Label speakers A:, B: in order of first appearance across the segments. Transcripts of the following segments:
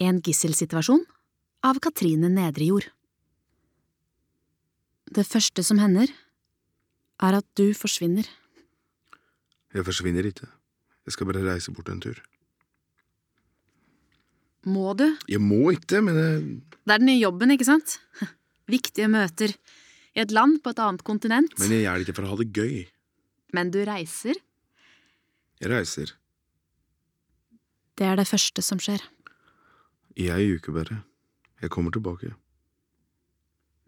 A: En gisselsituasjon av Katrine Nedrejord. Det første som hender, er at du forsvinner.
B: Jeg forsvinner ikke. Jeg skal bare reise bort en tur.
A: Må du?
B: Jeg må ikke, men jeg,
A: Det er den nye jobben, ikke sant? Viktige møter. I et land på et annet kontinent.
B: men jeg gjør det ikke for å ha det gøy.
A: Men du reiser.
B: Jeg reiser.
A: Det er det første som skjer.
B: I ei uke bare. Jeg kommer tilbake.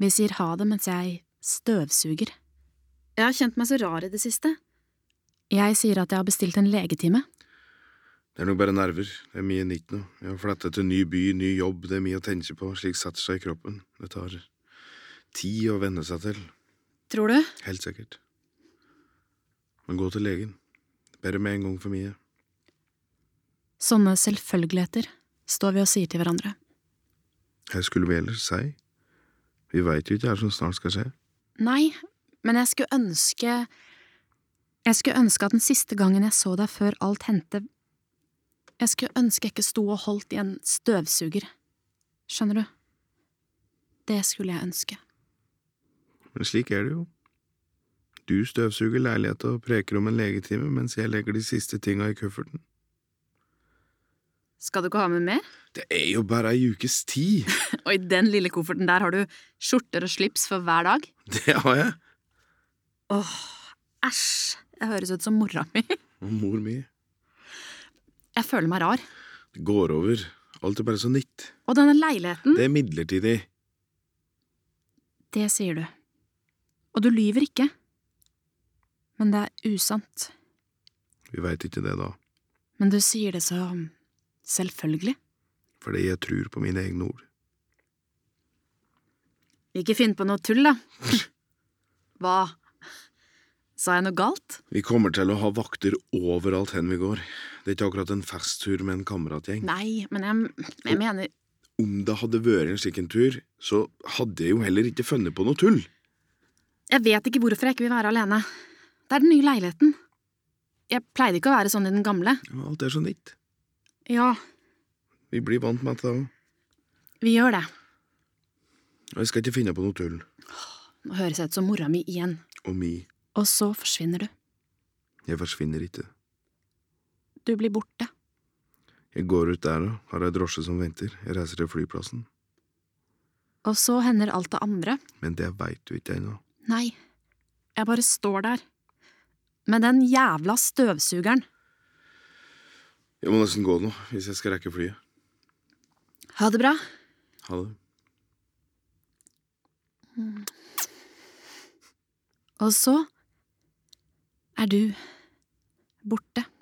A: Vi sier ha det mens jeg støvsuger. Jeg har kjent meg så rar i det siste. Jeg sier at jeg har bestilt en legetime.
B: Det er nok bare nerver. Det er mye nytt nå. Jeg har flytta til ny by, ny jobb, det er mye å tenke på. Slik setter seg i kroppen. Det tar tid å venne seg til.
A: Tror du?
B: Helt sikkert. Men gå til legen. Bare med en gang for mye.
A: Sånne selvfølgeligheter står vi og sier til hverandre.
B: Hva skulle vi ellers si? Vi veit jo ikke hva som snart skal skje.
A: Nei, men jeg skulle ønske… Jeg skulle ønske at den siste gangen jeg så deg før alt hendte… Jeg skulle ønske jeg ikke sto og holdt i en støvsuger. Skjønner du? Det skulle jeg ønske.
B: Men slik er det jo. Du støvsuger leiligheta og preker om en legetime mens jeg legger de siste tinga i kufferten.
A: Skal du ikke ha med mer?
B: Det er jo bare ei ukes tid!
A: Og i den lille kofferten der har du skjorter og slips for hver dag.
B: Det har jeg!
A: Åh, æsj. Jeg høres ut som mora mi.
B: Og mor mi.
A: Jeg føler meg rar.
B: Det går over. Alt er bare så nytt.
A: Og denne leiligheten…
B: Det er midlertidig.
A: Det sier du. Og du lyver ikke. Men det er usant.
B: Vi veit ikke det, da.
A: Men du sier det så selvfølgelig.
B: Fordi jeg tror på mine egne ord.
A: Ikke finn på noe tull, da. Hva? Sa jeg noe galt?
B: Vi kommer til å ha vakter overalt hen vi går. Det er ikke akkurat en festtur med en kameratgjeng.
A: Nei, men jeg, jeg mener
B: Om det hadde vært en slik en tur, så hadde jeg jo heller ikke funnet på noe tull.
A: Jeg vet ikke hvorfor jeg ikke vil være alene. Det er den nye leiligheten. Jeg pleide ikke å være sånn i den gamle.
B: Alt er så nytt.
A: Ja,
B: Vi blir vant med dette. også.
A: vi gjør det.
B: Og jeg skal ikke finne på noe tull.
A: Nå høres jeg ut som mora mi igjen.
B: Og mi,
A: Og så forsvinner du.
B: jeg forsvinner ikke.
A: Du blir borte.
B: Jeg går ut der og har ei drosje som venter. Jeg reiser til flyplassen.
A: Og så hender alt det andre.
B: Men det veit du ikke ennå.
A: Nei, jeg bare står der. Med den jævla støvsugeren.
B: Jeg må nesten gå nå, hvis jeg skal rekke flyet.
A: Ha det bra.
B: Ha det.
A: Og så er du borte.